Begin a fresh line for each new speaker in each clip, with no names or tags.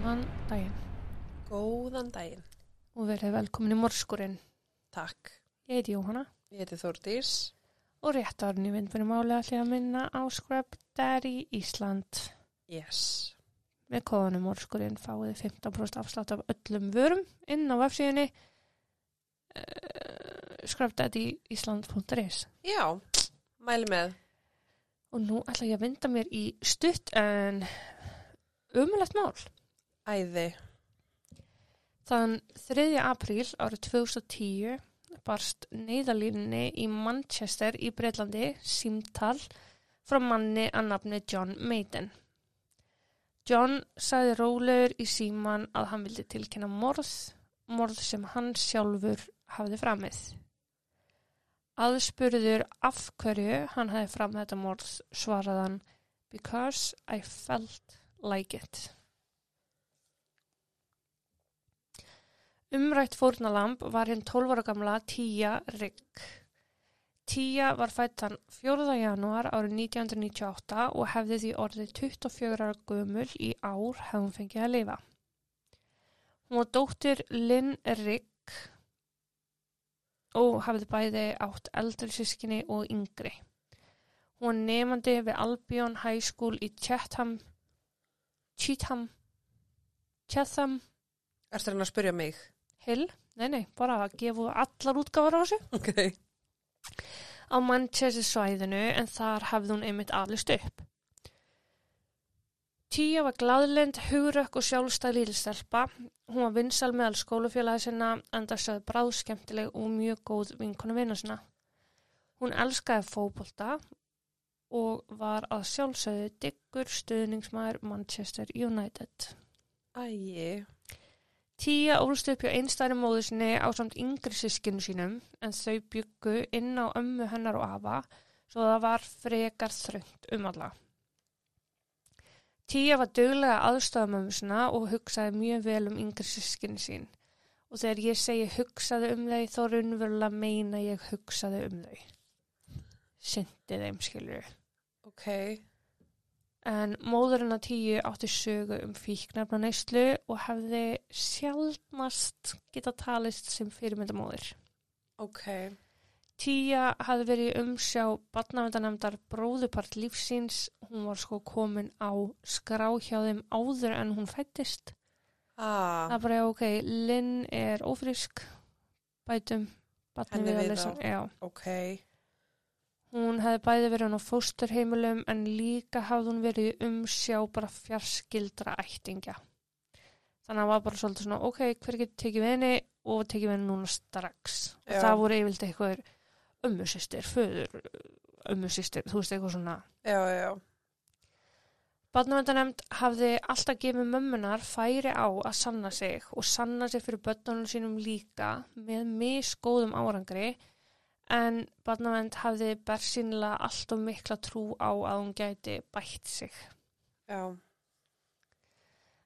daginn
Góðan daginn.
og verið velkomin í Morskurinn.
Takk.
Ég heiti Jóhanna
Ég heiti Þórdís.
og rétt árunni vindbunum álega allir að minna á Scrub Daddy Ísland.
Yes.
Með kóðanum Morskurinn fáið þið 15% afslátt af öllum vörum inn á vefsíðunni uh, scrubdaddyisland.is
Já, mæli með.
og nú ætla ég að vinda mér í stutt en umulegt mál.
Æði.
Þann 3. apríl árið 2010 barst neyðalínni í Manchester í Breitlandi símtal frá manni að nafni John Maiden. John sagði rólegur í síman að hann vildi tilkynna morð, morð sem hann sjálfur hafði framið. Aðspurður af hverju hann hafði fram þetta morð svaraði hann Because I felt like it. Umrætt fórnalamb var hinn 12 ára gamla Tía Rigg. Tía var fætt þann 4. janúar árið 1998 og hefði því orðið 24 ára gömul í ár hefði hún fengið að lifa. Hún var dóttir Lynn Rigg og hafði bæði átt eldri sískinni og yngri. Hún var nefandi við Albion High School í Chatham, Cheatham, Chatham
Ertu hann að spyrja mig?
Hill, nei nei, bara að gefa allar útgáfar á þessu
Ok.
á Manchester svæðinu en þar hafði hún einmitt alist upp. Tía var gladlend, hugrökk og sjálfstæð lílstelpa. Hún var vinsal meðal skólafélagi sinna, enda sögð bráðskemmtileg og mjög góð vinkonu vinna sinna. Hún elskaði fótbolta og var að sjálfsögðu diggur stuðningsmaður Manchester United.
Ægi.
Tía ólst upp hjá einstæðri móður sinni á samt yngri sískinu sínum en þau byggu inn á ömmu hennar og afa svo það var frekar þröngt um alla. Tía var duglega aðstöða mömmu sinna og hugsaði mjög vel um yngri sískinu sín og þegar ég segi hugsaði um þau þá raunverulega meina ég hugsaði um þau. Sindi þeim skilur
Ok.
en móðurinn að tíu átti sögu um fíknefna neyslu og hefði sjálfnast geta talist sem fyrirmyndamóðir.
Ok.
Tía hafði verið í umsjá barnavendanemdar bróðupart lífsins, hún var sko komin á skrá hjá þeim áður en hún fættist. Það
Ah,
er bara, já, ok, Lynn er ófrísk, bætum, barni
Henni
við
við
að lesa.
þá.
Já.
ok.
Hún hefði bæði verið hún á fósturheimilum en líka hafði hún verið í umsjá bara fjarskildra ættingja. Þannig að hann var bara svolítið svona, ok, hver getur tekið við henni og tekið við henni núna strax.
Já.
Og það voru yfirleitt eitthvað ömmusýstir, föður, ömmusýstir, þú veist eitthvað svona.
Já, já, já.
Barnavendanemnd hafði alltaf gefið mömmunar færi á að sanna sig og sanna sig fyrir börnunum sínum líka með misgóðum árangri en barnavend hafði bersýnilega allt og mikla trú á að hún gæti bætt sig.
Já.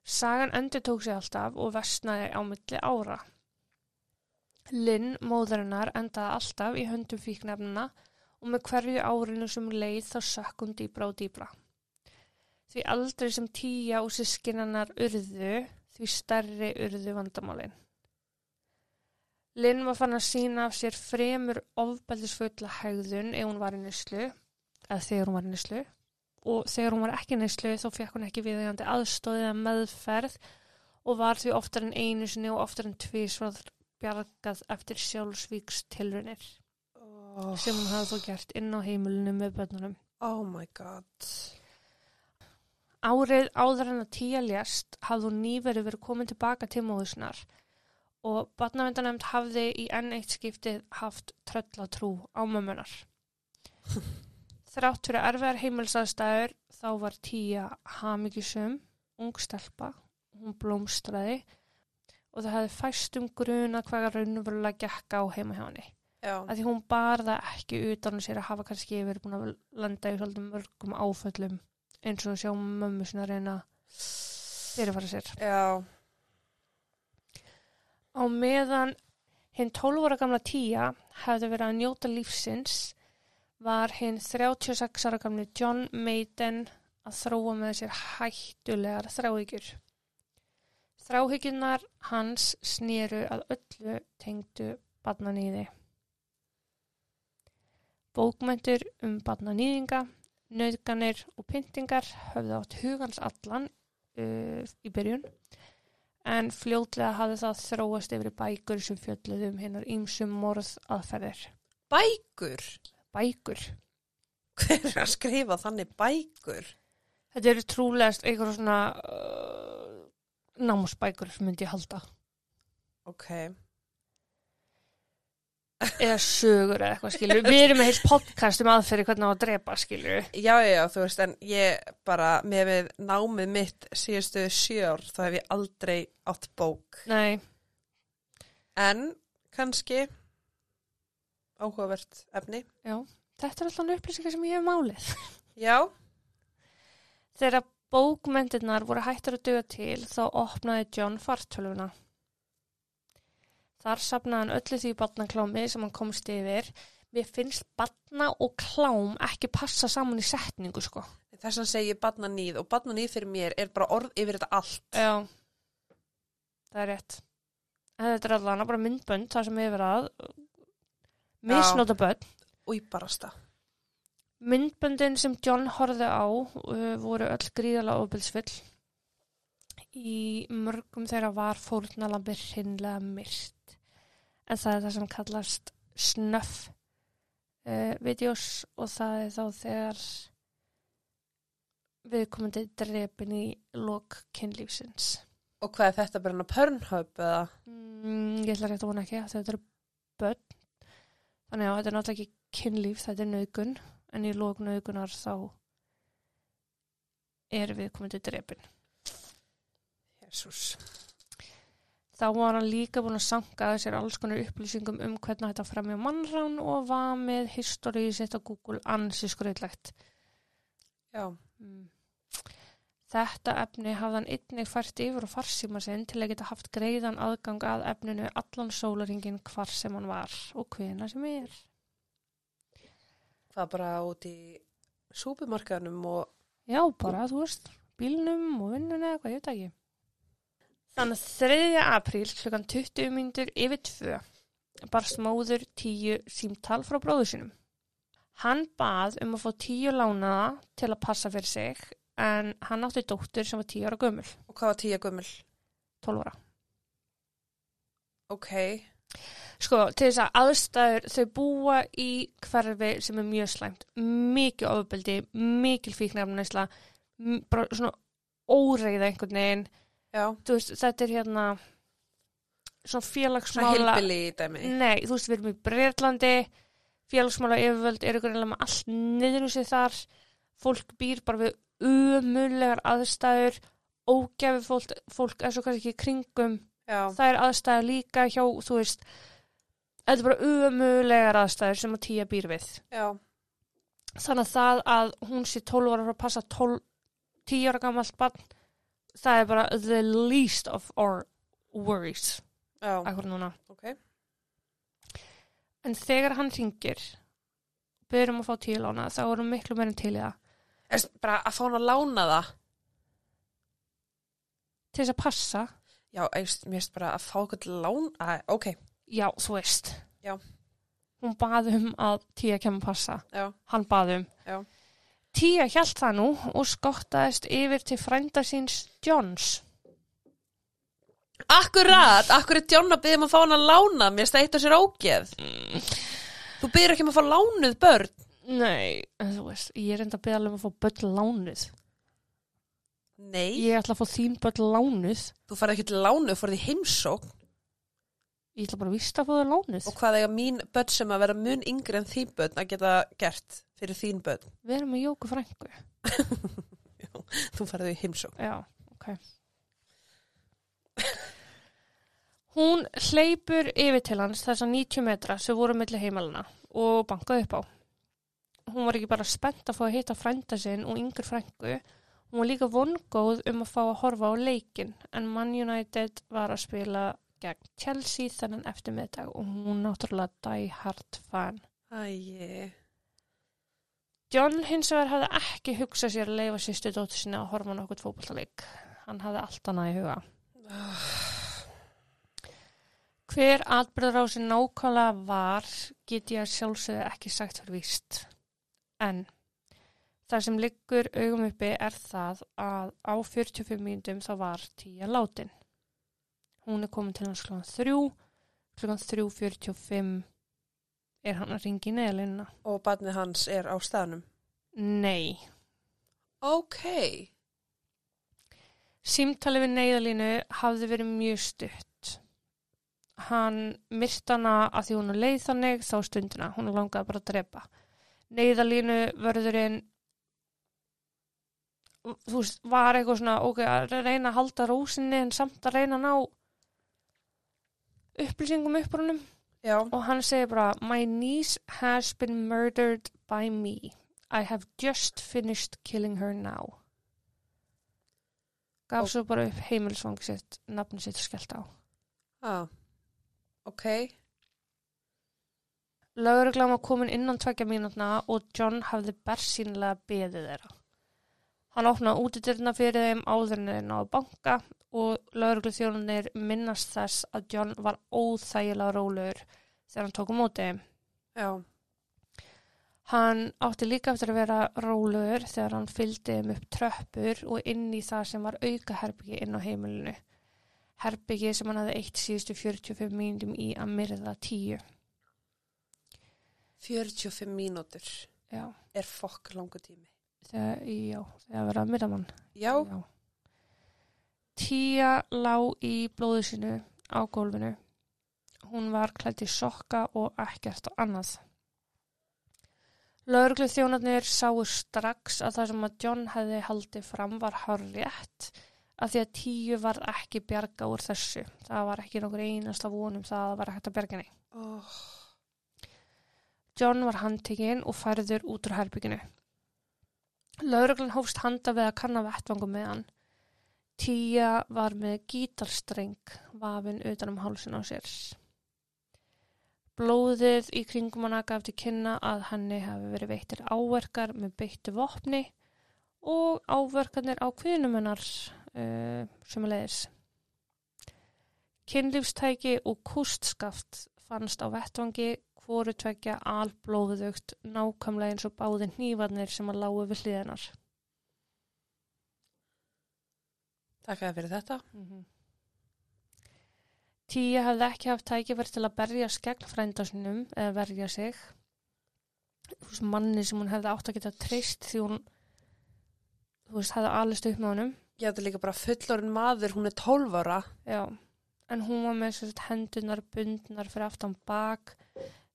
Sagan endur tók sig alltaf og vestnaði á milli ára. Lynn, móðurinnar, endaði alltaf í höndum fíknefnina og með hverju árinu sem leið þá sökkum dýbra og dýbra. Því aldrei sem tíja og sískinannar urðu, því stærri urðu vandamálin. Lynn var fann að sína af sér fremur ofbeldisfulla hegðun ef hún var í nýslu, eða þegar hún var í nýslu, og þegar hún var ekki í neyslu þá fekk hún ekki viðeigandi aðstóð eða meðferð og var því oftar en einu sinni og oftar en tvísvarð bjargað eftir sjálfsvíks tilrunir
Oh,
sem hún hafði þó gert inn á heimilinu með börnunum.
oh my god.
Árið áður en að tíja lést hafði hún nýverið verið komin tilbaka til móðusnar og barnavendanemnd hafði í enn eitt skiptið haft tröllatrú á mömmunar. Þrátt fyrir erfiðar heimilsaðstæður þá var tíja hamingisum, ung stelpa, hún blómstraði og það um hefði fæstum gruna hvað raunverulega gekk á heima hjá henni.
Já.
Af því hún bar það ekki utan á sér að hafa kannski verið búin að landa í svolítið mörgum áföllum eins og sjá mömmu sinna reyna að fyrirfara sér.
Já.
Á meðan hinn 12 ára gamla tíja hefði verið að njóta lífsins var hinn 36 ára gamli John Maiden að þróa með sér hættulegar þráhyggjur. Þráhyggjurnar hans snýru að öllu tengdu barnanýði. Bókmöntur um barnanýðinga, nöðganir og pyntingar höfðu átt hugans allan uh, í byrjun en fljótlega hafði það þróast yfir í bækur sem fjölluðu um hinnar ýmsum morð aðferðir.
Bækur?
Bækur.
Hver er að skrifa þannig bækur?
Þetta eru trúlegast einhverjum svona uh, námsbækur myndi ég halda.
Ok.
eða sögur eða eitthvað skilur við erum með heilt podcast um aðferði hvernig á að drepa skilur
Já, já, já, þú veist, en ég bara, með við námið mitt síðustu sjö ár, þá hef ég aldrei átt bók.
nei,
En, kannski, áhugavert efni.
þetta er alltaf upplýsingar sem ég hef málið
Já,
þegar bókmyndirnar voru hættar að duga til þá opnaði John fartölvuna þar sapnaði hann öllu því barnaklámi sem hann komst yfir mér finnst barna og klám ekki passa saman í setningu sko
þess að segja barna nýð og barna nýð fyrir mér er bara orð yfir þetta allt.
Já, það er rétt. En þetta er allan bara myndbönd, það sem yfir að misnota börn.
Új, barasta.
Myndböndin sem John horfði á uh, voru öll gríðala ofbilsvill. Í mörgum þeirra var fórnalambir hinnlega myrt. En það er það sem kallast snöff uh, videos og það er þá þegar viðkomandi drepin í lok kynlífsins.
Og hvað er þetta bara enn að Pornhub eða?
Mm, ég ætla rétt að vona ekki að þetta eru börn. Þannig að þetta er náttúrulega ekki kynlíf, þetta er nöðgun. En í lók nöðgunar þá er við komandi drepin.
Jésús.
Þá var hann líka búin að sanga sér alls konar upplýsingum um hvernig þetta fremja mannrán og var með historið sitt á Google ansi skröðlegt.
Já.
Mm. Þetta efni hafði hann einnig fært yfir á farsíma sinn til að geta haft greiðan aðgang að efninu allan sólaringin hvar sem hann var og hvena sem er.
Hvað bara út í súpumarkaðunum og
Já, bara, þú veist, bílnum og vinnunni eða hvað, ég veit það ekki. Þannig að 3. apríl klukkan 20 myndur yfir 2 barst móður 10 símtal frá bróður sinum. Hann bað um að fá 10 lánaða til að passa fyrir sig en hann átti dóttur sem var 10 ára gömul,
Og hvað var tíja gömul?
12 ára.
Ok,
Sko, til þess að aðstæður þau búa í hverfi sem er mjög slæmt, mikið ofbeldi, mikil fíknefnæsla, bara svona óreiða einhvern veginn,
já.
þú veist, þetta er hérna svona
Svona
félagsmála,
hilbili í dæmi.
nei, þú veist, við erum í Breitlandi, félagsmála yfirvöld eru greinlega með allt niður úr sig þar, fólk býr bara við umulegar aðstæður, ógæfi fólk, fólk er svo kannski ekki í kringum
Já,
það er aðstæða líka hjá, þú veist, þetta er bara umulegar aðstæður sem að tíja býr við.
já,
Þannig að það að hún sé 12 ára frá að passa 12, 10 ára gamalt barn, það er bara the least of our worries,
já,
akkur núna.
ok.
En þegar hann ringir, byrjum að fá tíu lána, þá erum miklu meira en til í það.
Er s- bara að fá hann að lána það?
Til þess að passa,
Já, eist, mér erst bara að fá okkur til lán, að, ok,
já, þú veist.
Já.
Hún baði um að tíja kemur að passa.
já,
hann baðum.
Já.
Tía hjælt það nú og skottaðist yfir til frænda síns Johns.
Akkurat, akkur er Djonna byggðum að fá hann að lána, mér erst að eitt á sér ógeð Þú byggður ekki um að fá lánuð börn
Nei, en þú veist, ég er enda að beða alveg um að fá börn lánuð.
Nei,
Ég ætla að fá þín börn lánuð.
þú farið ekki til lánuð, fórið í heimsókn
Ég ætla bara að vista að fá þau lánuð.
Og hvað eiga mín börn sem að vera mun yngri en þín börn að geta gert fyrir þín börn
Við erum með Jóku frængu.
Þú farið í heimsókn
Já, ok. Hún hleypur yfir til hans þessa 90 metra sem voru milli heimalina og bankaði upp á. Hún var ekki bara spennt að fá að hitta frænda sinn og yngur frængu. Hún var líka vongóð um að fá að horfa á leikin en Man United var að spila gegn Chelsea þennan eftir meðdag og hún náttúrulega die hard fan.
Æi,
John hins vegar hafði ekki hugsað sér að leifa sýstu dóttu sinni að horfa á nokkuð fótballtaleik. Hann hafði allt annað í huga.
Ah.
Hver atbyrðarásin nákvæmlega var get ég að sjálfsögðu ekki sagt fyrir víst. En það sem liggur augum uppi er það að á 45 mínútum þá var tíja látin. Hún er komin til hans klokkan 3, klokkan 3.45 er hann að ringi neðalina.
Og barnið hans er á staðnum.
Nei.
Ok.
Símtalið við neyðalínu hafði verið mjög stutt. Hann myrti hana að því hún var leið þannig þá stundina, hún langaði bara að drepa. Neyðalínu vörðurinn, þú veist, var eitthvað svona, ok, að reyna að halda rósinni en samt að reyna að ná upplýsingum upp úr honum
Já.
og hann segir bara My niece has been murdered by me I have just finished killing her now Gaf
Og-
svo bara upp heimilsvang sitt nafn sitt skellt á
Ah. Ok.
Lögreglan var komin innan tvekja mínútna og John hafði bersýnlega beðið þeirra. Hann opnaði útidyrna fyrir þeim áður en þeir náðu banka og lögregluþjónunir minnast þess að John var óþægilega rólegur þegar hann tók á móti þeim.
Já.
Hann átti líka eftir að vera rólegur þegar hann fylgdi um upp tröppur og inn í það sem var auka herbyggi inn á heimilinu. Herbyggi sem hann hafði eitt síðustu 45 mínútum í að myrða tíu.
45 mínútur
Já,
er fokk langu tími.
þegar, já, þegar verið að myrða mann.
Já.
Já. Tía lá í blóðu sínu á gólfinu. Hún var klætt í sokka og ekkert annað. Lörglu þjónarnir sáu strax að það sem að John hefði haldið fram var hárrétt að því að tíu var ekki bjarga úr þessu. Það var ekki nokkur einasta vonum það að það var hægt að bjarga henni.
Oh.
John var handtekinn og færður út úr herbygginu. Lauruglan hófst handa við að kanna vettvangum með hann. Tía var með gítarstreng vafinn utan um hálsun á sér. Blóðið í kringum hana gaf til kynna að henni hafi verið veittir áverkar með beittu vopni og áverkarnir á kviðnum hennar uh, sem leiðis. Kinnlífstæki og kústskaft fannst á vettvangi hvoru tvekja alblóðugt nákvæmlega eins og báði hnífarnir sem að lágu við hliðinar.
Takk að fyrir þetta.
Mm -hmm. Tíja hafði ekki haft tækifæri til að berja skegn frænda sinum eða verja sig. Þú veist, manni sem hún hefði átt að geta treyst því hún, þú veist, hefði alist upp með honum.
Ég ætla líka bara fullorinn maður, hún er 12 ára.
Já, en hún var með sem sagt, hendunar bundnar fyrir aftan bak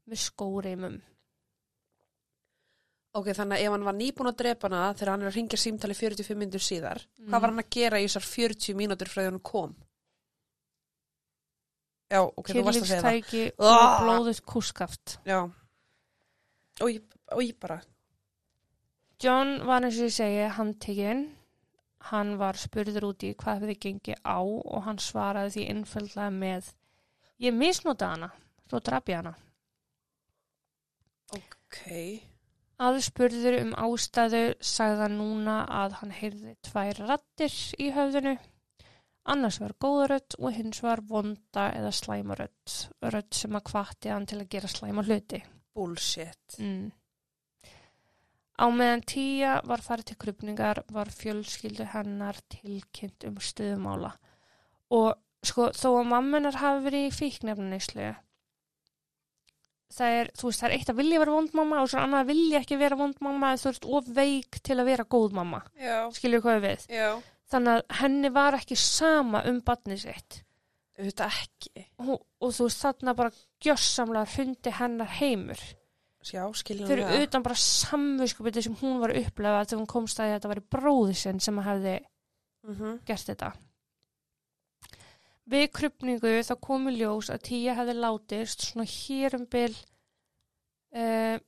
með skóreimum.
Ok, þannig að ef hann var nýbúin að drepa hana þegar hann er að ringja símtali 45 mínútur síðar, hvað var hann að gera í þessar 40 mínútur frá því hann kom? Já, ok, þú varst að segja það.
Kynlífstæki og
Ah!
blóðuð kúskaft.
Já. Og ég, og ég bara,
John var eins og ég segi handtekinn. Hann var spurður út í hvað hefði gengið á og hann svaraði því innfjöldlega með Ég misnóta hana, svo draf ég hana.
ok,
Aðspurður um ástæðu sagði hann núna að hann heyrði tvær rattir í höfðinu. Annars var góðarödd og hins var vonda eða slæmarödd. Rödd sem að hvatti hann til að gera slæma hluti.
bullshit.
Mm. Á meðan tíja var farið til krupningar var fjölskyldu hennar tilkynnt um stöðumála og sko þó að mammenar hafi verið í fíknefnaneyslu það er, þú veist, það er eitt að vilja vera vond mamma og svo er annað að vilja ekki vera vond mamma eða þú ert of veik til að vera góð mamma
Já,
skilur hvað ég við
já.
þannig að henni var ekki sama um badnið sitt
Þetta ekki.
og, og þú veist þarna bara gjössamlega hundi hennar heimur
Já, skiljum
fyrir utan bara samvinskupið sem hún var að upplefa þegar hún komst að því að þetta væri bróði sinn sem hefði
Mm -hmm.
gert þetta. Við krupningu þá komu ljós að tíja hefði látist svona hér um bil uh,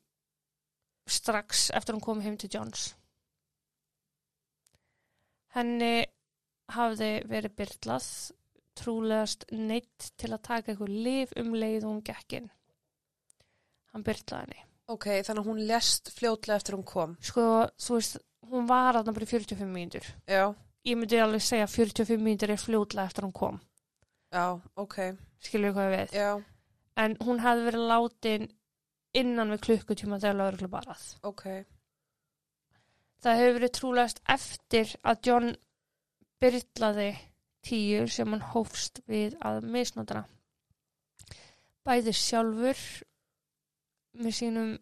strax eftir hún kom heim til Johns. Henni hafði verið byrlað, trúlegast neitt til að taka eitthvað lif um leið og hún gekk inn. Hann byrlaði henni.
Ok, þannig að hún lest fljótlega eftir hún kom.
sko, þú veist, hún var aðna bara í 45 mínútur
Já,
ég myndi alveg segja 45 mínútur er fljótlega eftir hún kom
Já, ok,
skilur við hvað ég við
já,
en hún hafði verið látin innan við klukkutíma þegar lauruglu barað
ok,
það hefur verið trúlegast eftir að John byrlaði tíu sem hann hófst við að misnótana bæði sjálfur með sínum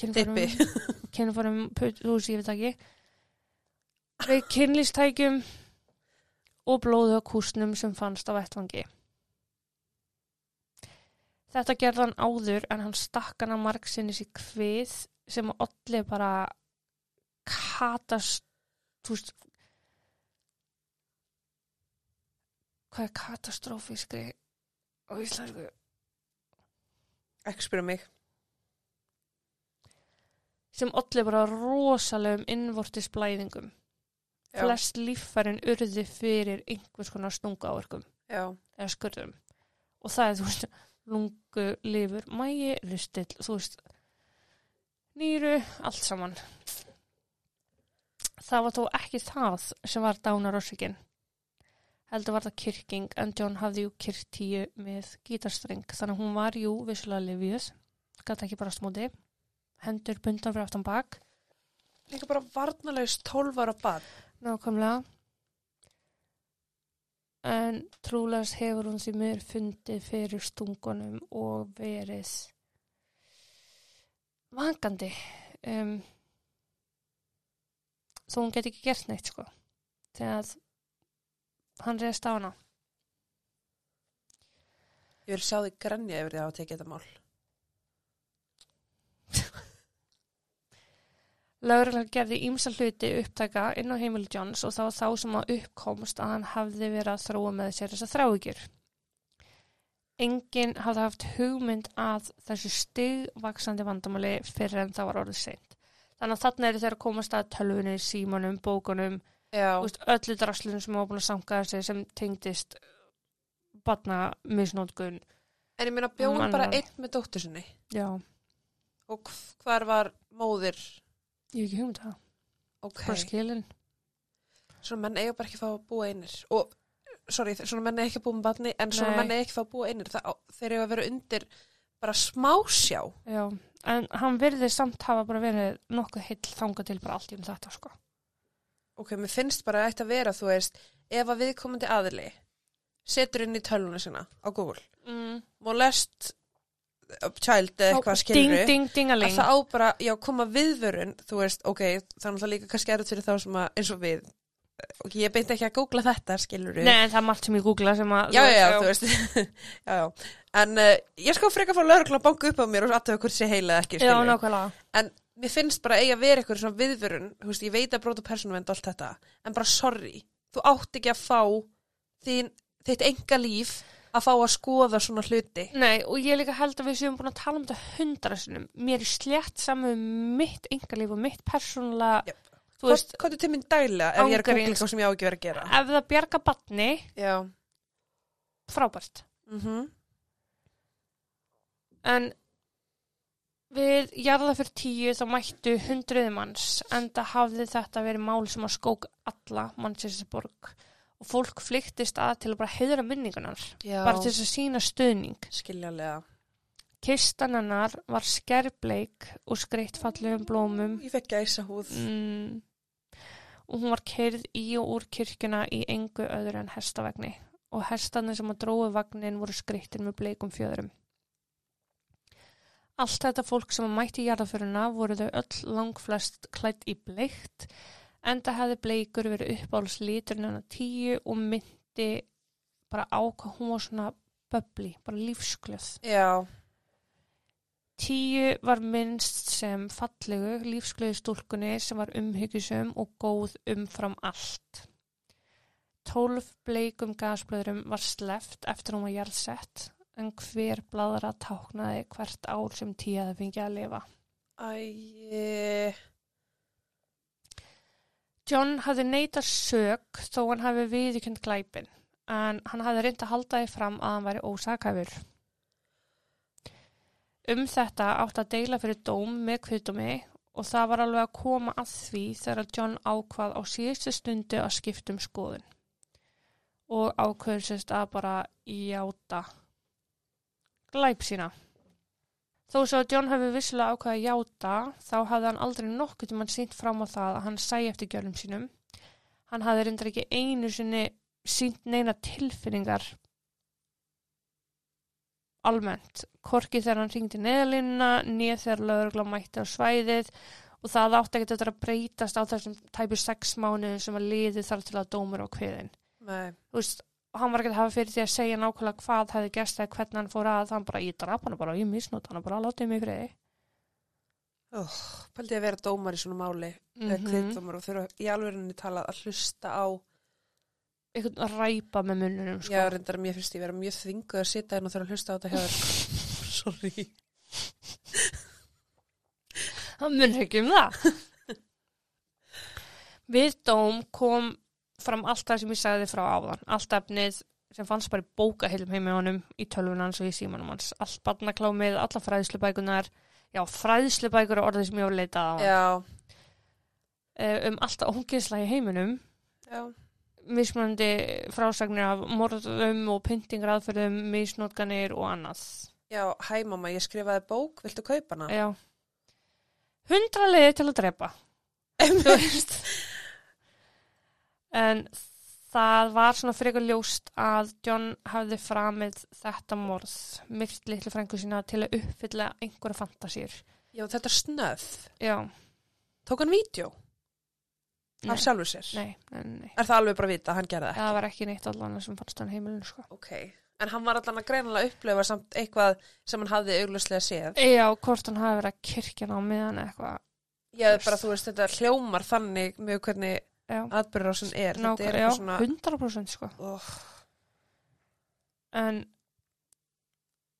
dippi
kynfórum húsi yfir dagi við kynlýstækjum og blóðu á kúsnum sem fannst á vettvangi. Þetta gerði hann áður en hann stakk hann að marg sinni sér kvið sem olli bara katast þú veist hvað er katastrófiskri á íslensku
Ekki spyrja mig
sem olli bara rosalegum innvortisblæðingum
Já,
flest líffærin urði fyrir einhvers konar stungaáverkum
já,
eða skurðum og það er, þú veist, lungu, lifur, mægi, ristill, þú veist, nýru, allt saman. Það var þó ekki það sem var dánarorsökin. Heldur var það kyrking en John hafði jú kyrkt tíu með gítarstreng þannig að hún var jú vissulega lifið, gæti ekki bara smóti, hendur bundar fyrir aftan bak
líka bara varnalegs 12 ára bad
Nákvæmlega. En trúlegast hefur hún því mér fundið fyrir stungunum og verið vangandi. Um, þó hún geti ekki gert neitt, sko. Þegar að hann reyðist á hana.
Ég vil sjá þig grenja yfir því að hafa tekið þetta mál
Lögreglan gerði ímsa hluti upptaka inn á heimili Johns og það var þá sem að uppkomst að hann hafði verið að þróa með sér þessa þráhyggjur. Enginn hafði haft hugmynd að þessu stigvaksandi vandamáli fyrir en það var orðið seint. Þannig að þarna eru þeir að komast að tölvunni, símanum, bókunum,
Já,
úst, öllu draslunum sem var búin að sanga þessi sem tengdist batna misnótkun.
en ég meina bjóð
Mann-
hún bara einn með dóttur sinni
Já,
og hv- hvar var móðir
ég hef ekki hugmynd að það.
Ok,
Bara skilin.
svona menn eiga bara ekki að fá að búa einir og, sorry, svona menn eiga ekki að búa með badni en svona
Nei.
menn eiga ekki að fá að búa einir það, á- þeir eiga að vera undir bara smásjá
Já, en hann virði samt hafa bara verið nokkuð heill þanga til bara allt í um þetta, sko.
ok, mér finnst bara að ætti að vera, þú veist, ef að viðkomandi aðili setur inn í töluna sína á Google,
Mm.
molest uh, child eða eitthvað
ding,
skilur
ding, dingaling.
að það á bara, já, koma viðvörun, þú veist, ok, það er náttúrulega líka kannski erut fyrir þá sem að, eins og við, ok, ég beint ekki að googla þetta, skilur
Nei, en það er margt sem ég googla sem að...
Já, já, já, þú veist, já, já, en uh, ég skal frekar fá lögregla að banka upp á mér og aðtöfa hvort sé heila eða
Já,
ekki, skilur
nákvæmlega.
en mér finnst bara eiga að vera eitthvað svona viðvörun, þú veist, ég veit að bróta persónuvend og allt þetta, en bara sorry þú átt ekki að fá þín, þitt enga líf að fá að skoða svona hluti
Nei, og ég líka held að við séum búin að tala um þetta hundra sinum. Mér er slétt saman um mitt engalíf og mitt persónulega...
Jöp.
Þú veist,
hvað er til minn dæla ef ég er að googla
Ángríns.
eitthvað sem ég á ekki verið að gera
ef það bjarga batni,
já,
frábært.
mm
En við jarða fyrir tíu þá mættu hundruði manns en það hafði þetta verið mál sem að skók alla mannsesseborg og fólk flyktist að til að bara heiðra minningunar,
já,
bara til þess að sína stuðning.
skiljalega
Kistan hennar var skerbleik og skreitt fallegum blómum
ég fekk gæsa húð
mm, og hún var keirð í og úr kirkjuna í engu öðru en hestavagni og hestarnir sem að dróðu vagnin voru skrittir með bleikum fjöðrum. Allt þetta fólk sem að mætti í jarðaföruna voru þau öll langflest klætt í bleikt en það hefði bleikur verið uppáls liturinn hennar tíu og myndi bara á hvað hún var svona böbli, bara lífsglöð.
já,
Tíu var minnst sem fallegu lífsglöðu stúlkunni sem var umhyggjusum og góð umfram allt. Tólf bleikum gasblöðurum var sleft eftir hún var jarðsett en hver bladra táknaði hvert ár sem tíu hafði fengið að lifa.
æ
John hafði neytað sök þó hann hafi viðkjönd glæpin en hann hafði reynd að halda því fram að hann væri ósakæfur. Um þetta átt að deila fyrir dóm með kviðdómi og það var alveg að koma að því þegar að John ákvað á síðustu stundu að skipta um skoðun og ákveður sérst að bara játa glæp sína. Þó svo að John hefði vissulega ákveð að játa þá hafði hann aldrei nokkuð til mann sínt fram á það að hann sæi eftir gjörnum sínum. Hann hafði reyndar ekki einu sinni sínt neina tilfinningar almennt, hvorki þegar hann ringdi neðalínuna, nýð þegar lögregla mætti á svæðið og það átti ekkert eftir að breytast á þessum tæpur sex mánuðum sem að liði þar til að dómur á kviðin.
Nei.
Þú veist, hann var ekkert að hafa fyrir því að segja nákvæmlega hvað hefði gerst eða hvernig hann fór að, hann bara, ég draf hana bara, ég misnót hana bara, látið mig í friði.
Oh, Pældi að vera dómar í svona máli mm -hmm. kviðdómar og þurfa í alvegurinni tala að hlusta á
Einhvern að ræpa með munnunum, sko.
Já, reyndar mér finnst ég vera mjög þvinguð að sita en og þurfa að hlusta á þetta hjá þér Sorry
Það mun ekki um það. Við dóm kom fram allt það sem ég sagði frá áðan. Allt efnið sem fannst bara í bókahillum heim með honum í tölvun hans og í símanum hans. Allt barnaklámið, alla fræðslubækunar. Já, fræðslubækur er orðið sem ég hef leitað á.
Já,
Yeah. Um allt ógeðslega í heiminum.
já,
Mismunandi frásagnir af morðum og pyntingraðferðum, misnótganir og annað.
já, hæ mamma, ég skrifaði bók, viltu kaupa hana?
Já. Hundra leiðir til að drepa. Þú veist. En það var svona frekar ljóst að John hafði framið þetta morð, myrkt litlu frængu sína til að uppfylla einhverja fantasýr.
Já, þetta er snöð
Já,
Tók hann vídeo
nei,
af sjálfur sér?
nei, nei, nei.
Er það alveg bara að vita að hann gerði það?
Það var ekki neitt allan sem fannst hann heimilinu, sko.
Ok, en hann var allan að greinilega upplifa samt eitthvað sem hann hafði auglustlega séð.
Já, hvort hann hafi verið að kirkja ná miðan eða eitthvað.
Ég hef bara, þú veist, þetta hljómar þannig mjög hvernig
Já,
atbyrðurásin er. þetta er
nákvæmlega,
eitthvað
já,
svona,
100% sko.
oh,
en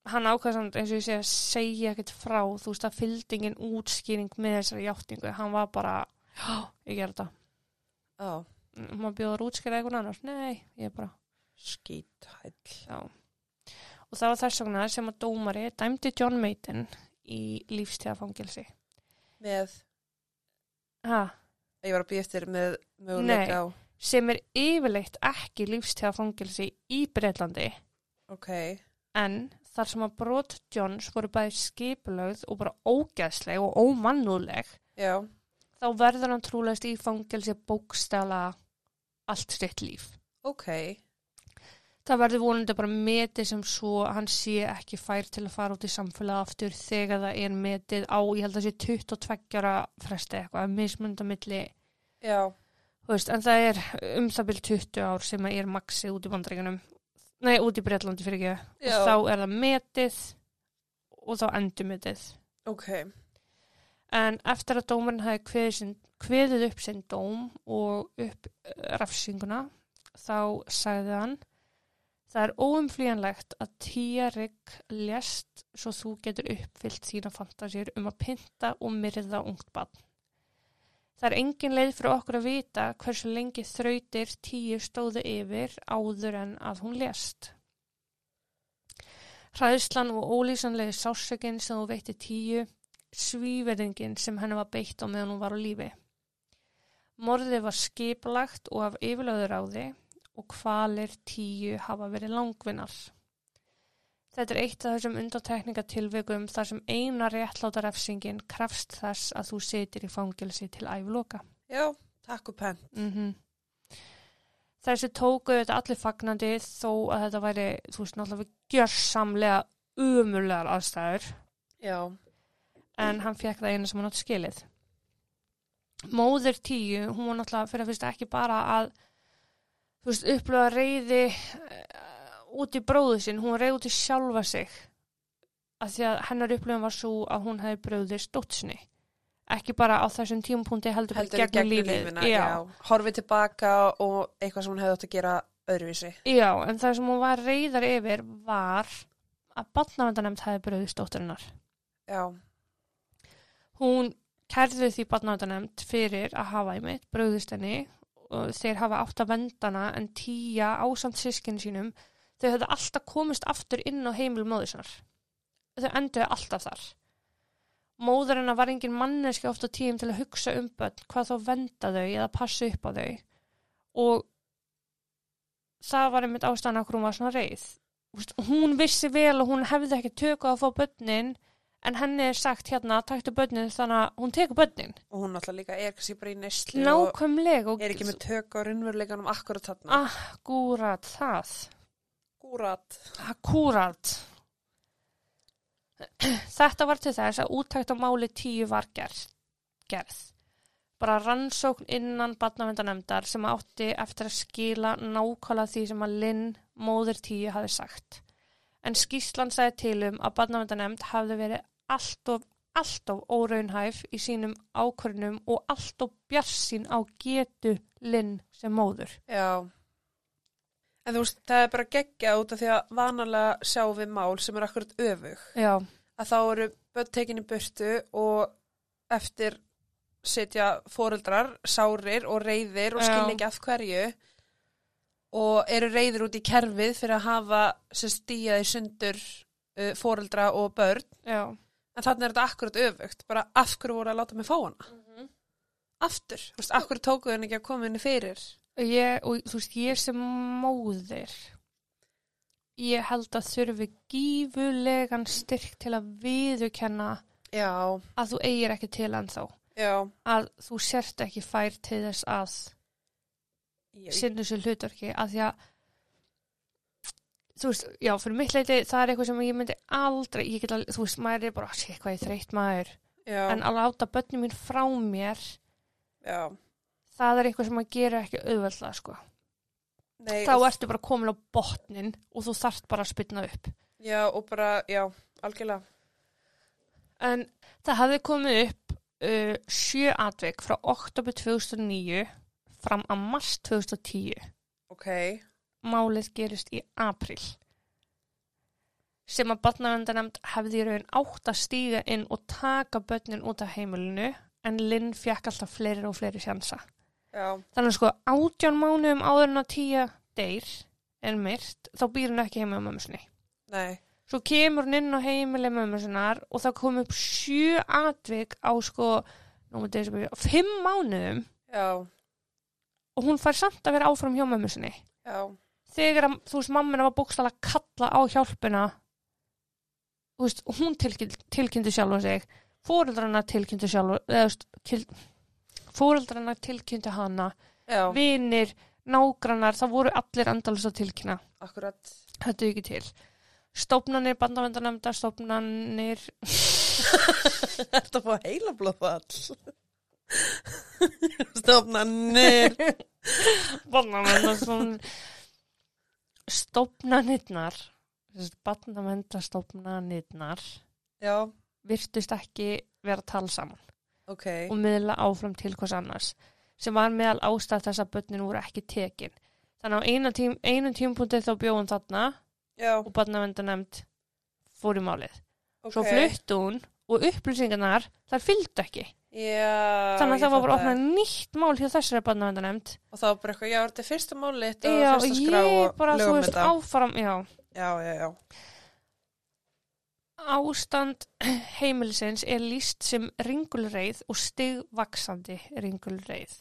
hann ákvæði samt eins og ég sé að segja ekkert frá, þú veist að fylgdingin útskýring með þessari játningu hann var bara, já, ég ger þetta
á,
Mm, maður bjóður útskýra eitthvað annars, nei, ég bara
skíthæll.
já. og það var þess vegna sem að dómari dæmdi John Maiden í lífstíðafangilsi
Með,
ha,
ég var að býja eftir með möguleika á,
sem er yfirleitt ekki lífstíðafangilsi í Breitlandi
ok,
en þar sem að brot Johns voru bæði skipulögð og bara ógæðsleg og ómannúleg
já,
þá verður hann trúlegast í fangelsi bókstala allt sitt líf.
ok,
Það verður vonandi bara metið sem svo að hann sé ekki fær til að fara út í samfélag aftur þegar það er metið á, ég held að sé 22 ára fresti eitthvað, mismundamilli,
já,
þú veist, en það er um það byrjum 20 ár sem að er maxið út í bandreikunum, nei, út í Breitlandi fyrir ekki,
já,
og þá er það metið og þá endur metið.
ok,
En eftir að dómarinn hafi kveðið, sinn, kveðið upp sinn dóm og upp eh, refsinguna, þá sagði hann Það er óumflýjanlegt að tíja rigg lest svo þú getur uppfyllt þína fantasíur um að pynta og myrða ungt barn. Það er engin leið fyrir okkur að vita hversu lengi þrautir tíu stóðu yfir áður en að hún lest. Hræðslan og ólýsanlegi sásökin sem þú veitti tíu svíverðingin sem henni var beitt á meðan hún var á lífi. Morðið var skiplagt og af yfirlöður á því og kvalir tíu hafa verið langvinnar. Þetta er eitt af þessum undantekningatilveikum þar sem eina réttláta refsingin krafst þess að þú sitir í fangelsi til æfloka.
já, takk og penn,
Mm Þessu tóku þetta allir fagnandi þó að þetta væri, þú veist, náttúrulega gjörsamlega umurlegar aðstæður
já,
en hann fekk það einu sem hann átt skilið. Móðir tíu, hún var náttúrulega fyrir að fyrst ekki bara að þú veist, upplöða reyði uh, út í bróðu sinn, hún reyði út í sjálfa sig að því að hennar upplöðum var svo að hún hefði bröðið stótsinni. Ekki bara á þessum tímapunkti heldur,
heldur
heldur
við
gegnum lífið.
lífina, já, horfið tilbaka og eitthvað sem hún hefði átt að gera öðruvísi.
Já, en það sem hún var reyðar yfir var að barnavendanemt hefði bröðið stótturinnar.
Já,
hún kærði því barnavæntanemnd fyrir að hafa einmitt bröðust henni og þeir hafa átt að vendana en tíja ásamt sískinu sínum þau höfðu alltaf komist aftur inn á heimil móðisnar þau enduðu alltaf þar Móður hennar var engin manneski ofta tíum til að hugsa um börn, hvað þá venda þau eða passa upp á þau. Og það var einmitt ástæðan af hverju hún var svona reið. Þú veist, Hún vissi vel og hún hefði ekki tökuð að fá börnin en henni er sagt hérna, taktu börnin þannig að hún tekur börnin.
og hún náttúrulega líka er kannski bara í neyslu og
Nákvæmlega og
er ekki með tök á raunveruleikanum akkurat
Ah,
þarna.
akkúrat það.
Akkurat.
Akkúrat. Þetta var til þess að úttækt á máli tíu var gerð. gerð. Bara rannsókn innan barnavendanemndar sem átti eftir að skila nákvæmlega því sem að Linn, móðir tíu, hafi sagt. En skýslan sagði til um að barnavendanemnd hafði verið allt of, allt of óraunhæf í sínum ákvörnum og allt of bjarsín á getu Linn sem móður.
Já. En þú veist, það er bara geggja út af því að vanalega sjáum við mál sem er akkurat öfug.
Já,
Að þá eru börn tekin í burtu og eftir setja foreldrar, sárir og reyðir og
Já.
skilja ekki af hverju og eru reyðir út í kerfið fyrir að hafa sem stíjaði sundur uh, foreldra og börn.
já.
En þannig er þetta akkurat öfugt, bara af hverju voru að láta mig fá hana? Aftur, þú veist, af hverju tókuðu henni ekki að koma henni fyrir?
ég, og þú veist, ég sem móðir ég held að þurfi gífulegan styrk til að viðurkenna
Já,
að þú eigir ekki til ennþá
já.
að þú sért ekki fær til þess að
Ég,
sinna þessu hlutarki að því að þú veist, já, fyrir mitt leiti það er eitthvað sem ég myndi aldrei ég get að, þú veist, maður er bara, sé hvað ég er þreytt maður
já,
en að láta börnum mín frá mér
já.
það er eitthvað sem maður gerir ekki auðveldlega, sko
Nei,
þá
og-
ertu bara komin á botnin og þú þarft bara að spynna upp
Já, og bara, já, algjörlega.
En það hafði komið upp uh, sjö atvik frá oktober 2009 fram að mars 2010.
Ok,
Málið gerist í april sem að barnavendanemnd hefði í raun átt að stíga inn og taka börnin út af heimilinu en Linn fekk alltaf fleiri og fleiri sjansa.
já,
Þannig að sko átján mánuðum áður en að tíja deyr en myrt, þá býr hún ekki heima á mömmu sinni.
nei,
Svo kemur hún inn á heimili mömmu sinnar og það kom upp sjö atvik á sko, nú maður þessi byrja, fimm mánuðum
já,
og hún fær samt að vera áfram hjá mömmu sinni.
já,
Þegar að, þú veist, mammina var bókstala að kalla á hjálpina, þú veist, hún tilkyn, tilkynnti sjálfa sig, fóreldrana tilkynnti sjálfa, eða þú veist, til, fóreldrana tilkynnti hana,
já,
vinir, nágrannar, það voru allir andalust að tilkynna.
akkurat.
Þetta er ekki til. Stofnanir, bandavendanemnda, stofnanir,
Ertu að fá heila blóðfall? Stofnanir.
barnavendastofnun stofnanirnar barnavendastofnanirnar
Já,
virtust ekki vera að tala saman
ok,
og miðla áfram til hvers annars sem var meðal ástæð þess að börnin voru ekki tekin þannig á eina tím, einum tímpunkti þá bjóðum þarna
já,
og barnavendanemnd fór í málið
ok.
svo fluttu hún og upplýsingarnar þar fylgdu ekki
Já,
þannig að
ég
það var bara
fattaði.
opnað nýtt mál hjá þessari barnavendanemnd
Og það var bara eitthvað, já, þetta er fyrsta málið og
já,
fyrsta skrá
ég
og
bara, þú
lögum
veist,
þetta.
áfram já
Já, já, já,
Ástand heimilisins er líst sem ringulreið og stigvaksandi ringulreið.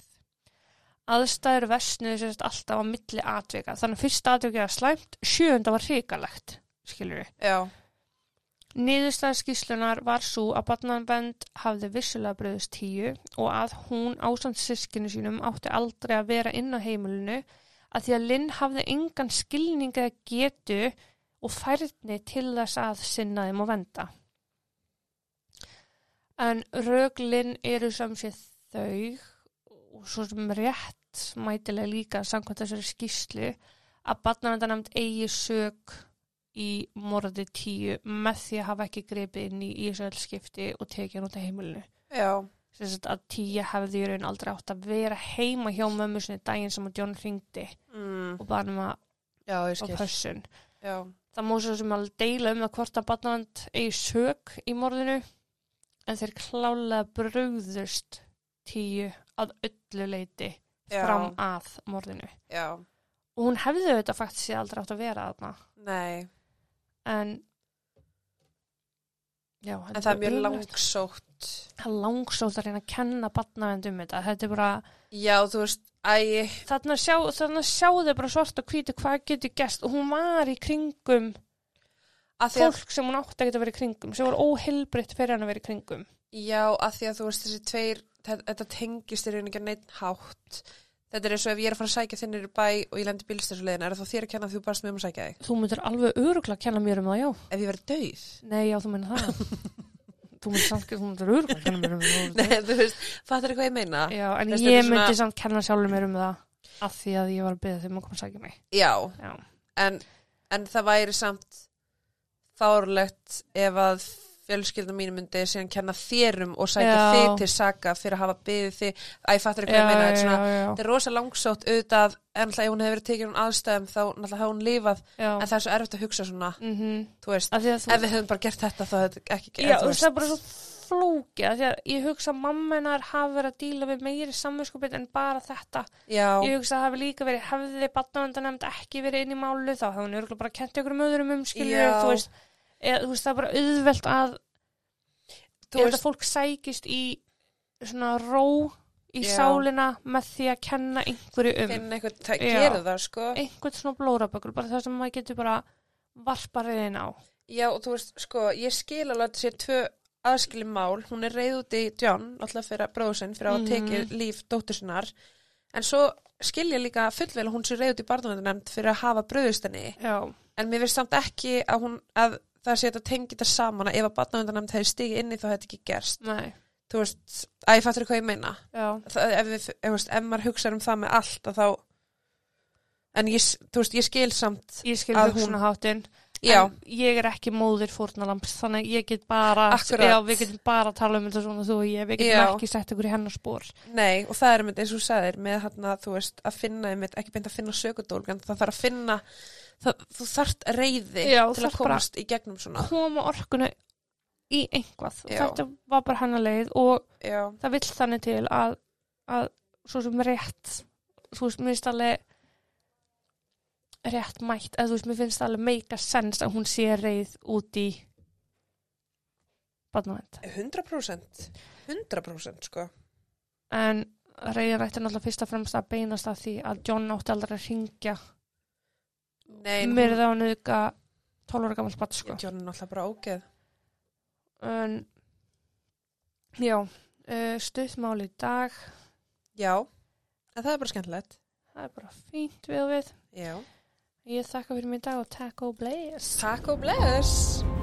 Aðstæður versnuðu sérst alltaf á milli atvika. Þannig að fyrsta atvika var slæmt, sjöunda var hrikalegt, skilur við.
já,
Niðurstæða skýslunar var svo að barnanvend hafði vissulega bröðust tíu og að hún ásamt sískinu sínum átti aldrei að vera inn á heimilinu að því að Linn hafði engan skilning eða getu og færni til þess að sinna þeim og venda. En röglinn eru sem sé þau og svo sem rétt mætilega líka samkvæmt þessari skýslu að barnavendanemnd eigi sög í morði tíu með því að hafa ekki grepið inn í Ísraelskipti og tekið hann út af heimilinu.
já,
Þess að tíu hefði í raun aldrei átt að vera heima hjá mömmu sinni daginn sem að John hringdi
mm.
og bara um að
já, ég
á
skil.
pössun.
Já,
Það má svo sem alveg deila um það hvort að barnavand eigi sök í morðinu en þeir klálega brugðust tíu að öllu leiti
já,
fram að morðinu.
já,
Og hún hefði auðvitað faktisk aldrei átt að vera þarna.
nei,
en Já,
en það er mjög langsótt
langsótt að reyna að kenna batnaðend um þetta. Þetta er bara,
já, þú veist, æ,
þarna, sjá, þarna sjáðu bara svart og hvítu hvað getur gest og hún var í kringum
að því að,
fólk sem hún átti að geta verið í kringum, sem var óheilbritt fyrir hann að vera í kringum.
já, að því að þú veist, þessi tveir, þetta, þetta tengist í raun ekki að neitt hátt þetta er eins og ef ég er að fara að sækja þinn er bæ og ég lendi bílstæðsleðin, er það þér að kenna að þú barst með um að sækja þig?
Þú myndir alveg öruglega að kenna mér um það, já.
Ef ég verið döið?
Nei, já, þú meina það. þú myndir samt ekki, þú myndir öruglega að kenna mér um það.
Nei, þú veist, fattar hvað ég meina?
Já, en
Þetta er
ég
svona-
myndi samt kenna sjálfur mér um það af því að ég var að byrja þeim að koma að sækja mig.
Já,
Já.
en, en það væri samt fárlegt ef að fjölskylda mín myndi síðan kenna þér um og sækja
Já.
þig til saka fyrir að hafa byggðið þig að ég fattur eitthvað að meina þetta er svona,
já,
þetta er rosa langsótt auðvitað en alltaf ef hún hefur verið tekin um aðstæðum þá náttúrulega hafa hún lifað
já, já.
en það er svo erfitt að hugsa svona,
Mm -hmm.
þú veist
að því að þú
ef við höfum bara gert þetta þá hefði þetta ekki en
Já,
þú
og
veist,
það er bara svo flókið af því að ég hugsa að mamma hennar hafi verið að díla við meiri samvinskupið en bara þetta
já,
ég hugsa að hafi líka verið hefði barnavendanemnd ekki verið inn í málu þá hefði hún örgulega bara kent ykkur möðurum um skilur
Já.
þú veist, eða, þú veist, það er bara auðvelt að
þú
ef
veist
það fólk sækist í svona ró í
Já.
sálina með því að kenna einhverju um
finna eitthvað að
Já.
gera það sko
einhvern svona blórabökul bara það sem maður getur bara varpariðin á
já, og þú veist, sko, ég skil alveg að þetta sé tvö aðskilin mál, hún er reið út í John, alltaf fyrir að bróðsinn fyrir að mm
Mhm.
tekið líf dóttur sinnar en svo skil ég líka fullvel að hún sé reið út í barnavöndunemnd fyrir að hafa bröðust henni
Já,
en mér finnst samt ekki að hún að það sé þetta tengi þetta saman að ef að barnavöndanæmt hefði stigið inni þá hefði þetta ekki gerst
nei,
þú veist, að ég fattur hvað ég meina
já,
það, ef, við, ef, veist, ef maður hugsa um það með allt að þá en ég, s- þú veist, ég skil samt
ég skil
Að
hugsunaháttin
já,
En ég er ekki móðir fórnalamps þannig að ég get bara
Akkurat.
já, við getum bara að tala um þetta svona þú og ég við getum
Já.
ekki sett ykkur í hennar spór
nei, og það er einmitt eins og þú sagðir með hann að þú veist, að finna einmitt, ekki beint að finna sökudólg, en það þarf að finna það, þú þarft reyði
Já,
til
þarft
að komast í gegnum svona
koma orkunu í einhvað
Já.
þetta var bara hennar leið og
já,
það vill þannig til að, að svo sem rétt þú veist, mér finnst alveg rétt mætt eða þú veist, mér finnst alveg meika sens að hún sé reið út í barnavend
100% 100% sko
en reyðin ætti náttúrulega fyrst og fremst að beinast að því að John átti aldrei að ringja
nei, hún-
myrða og nöðga 12 ára gammal spatt sko.
John er náttúrulega bara ógeð
En, já, uh, stuðmál í dag,
Já, en það er bara skemmtilegt.
það er bara fínt við og við.
Já.
Ég þakka fyrir mig í dag og takk og bless.
Takk og bless!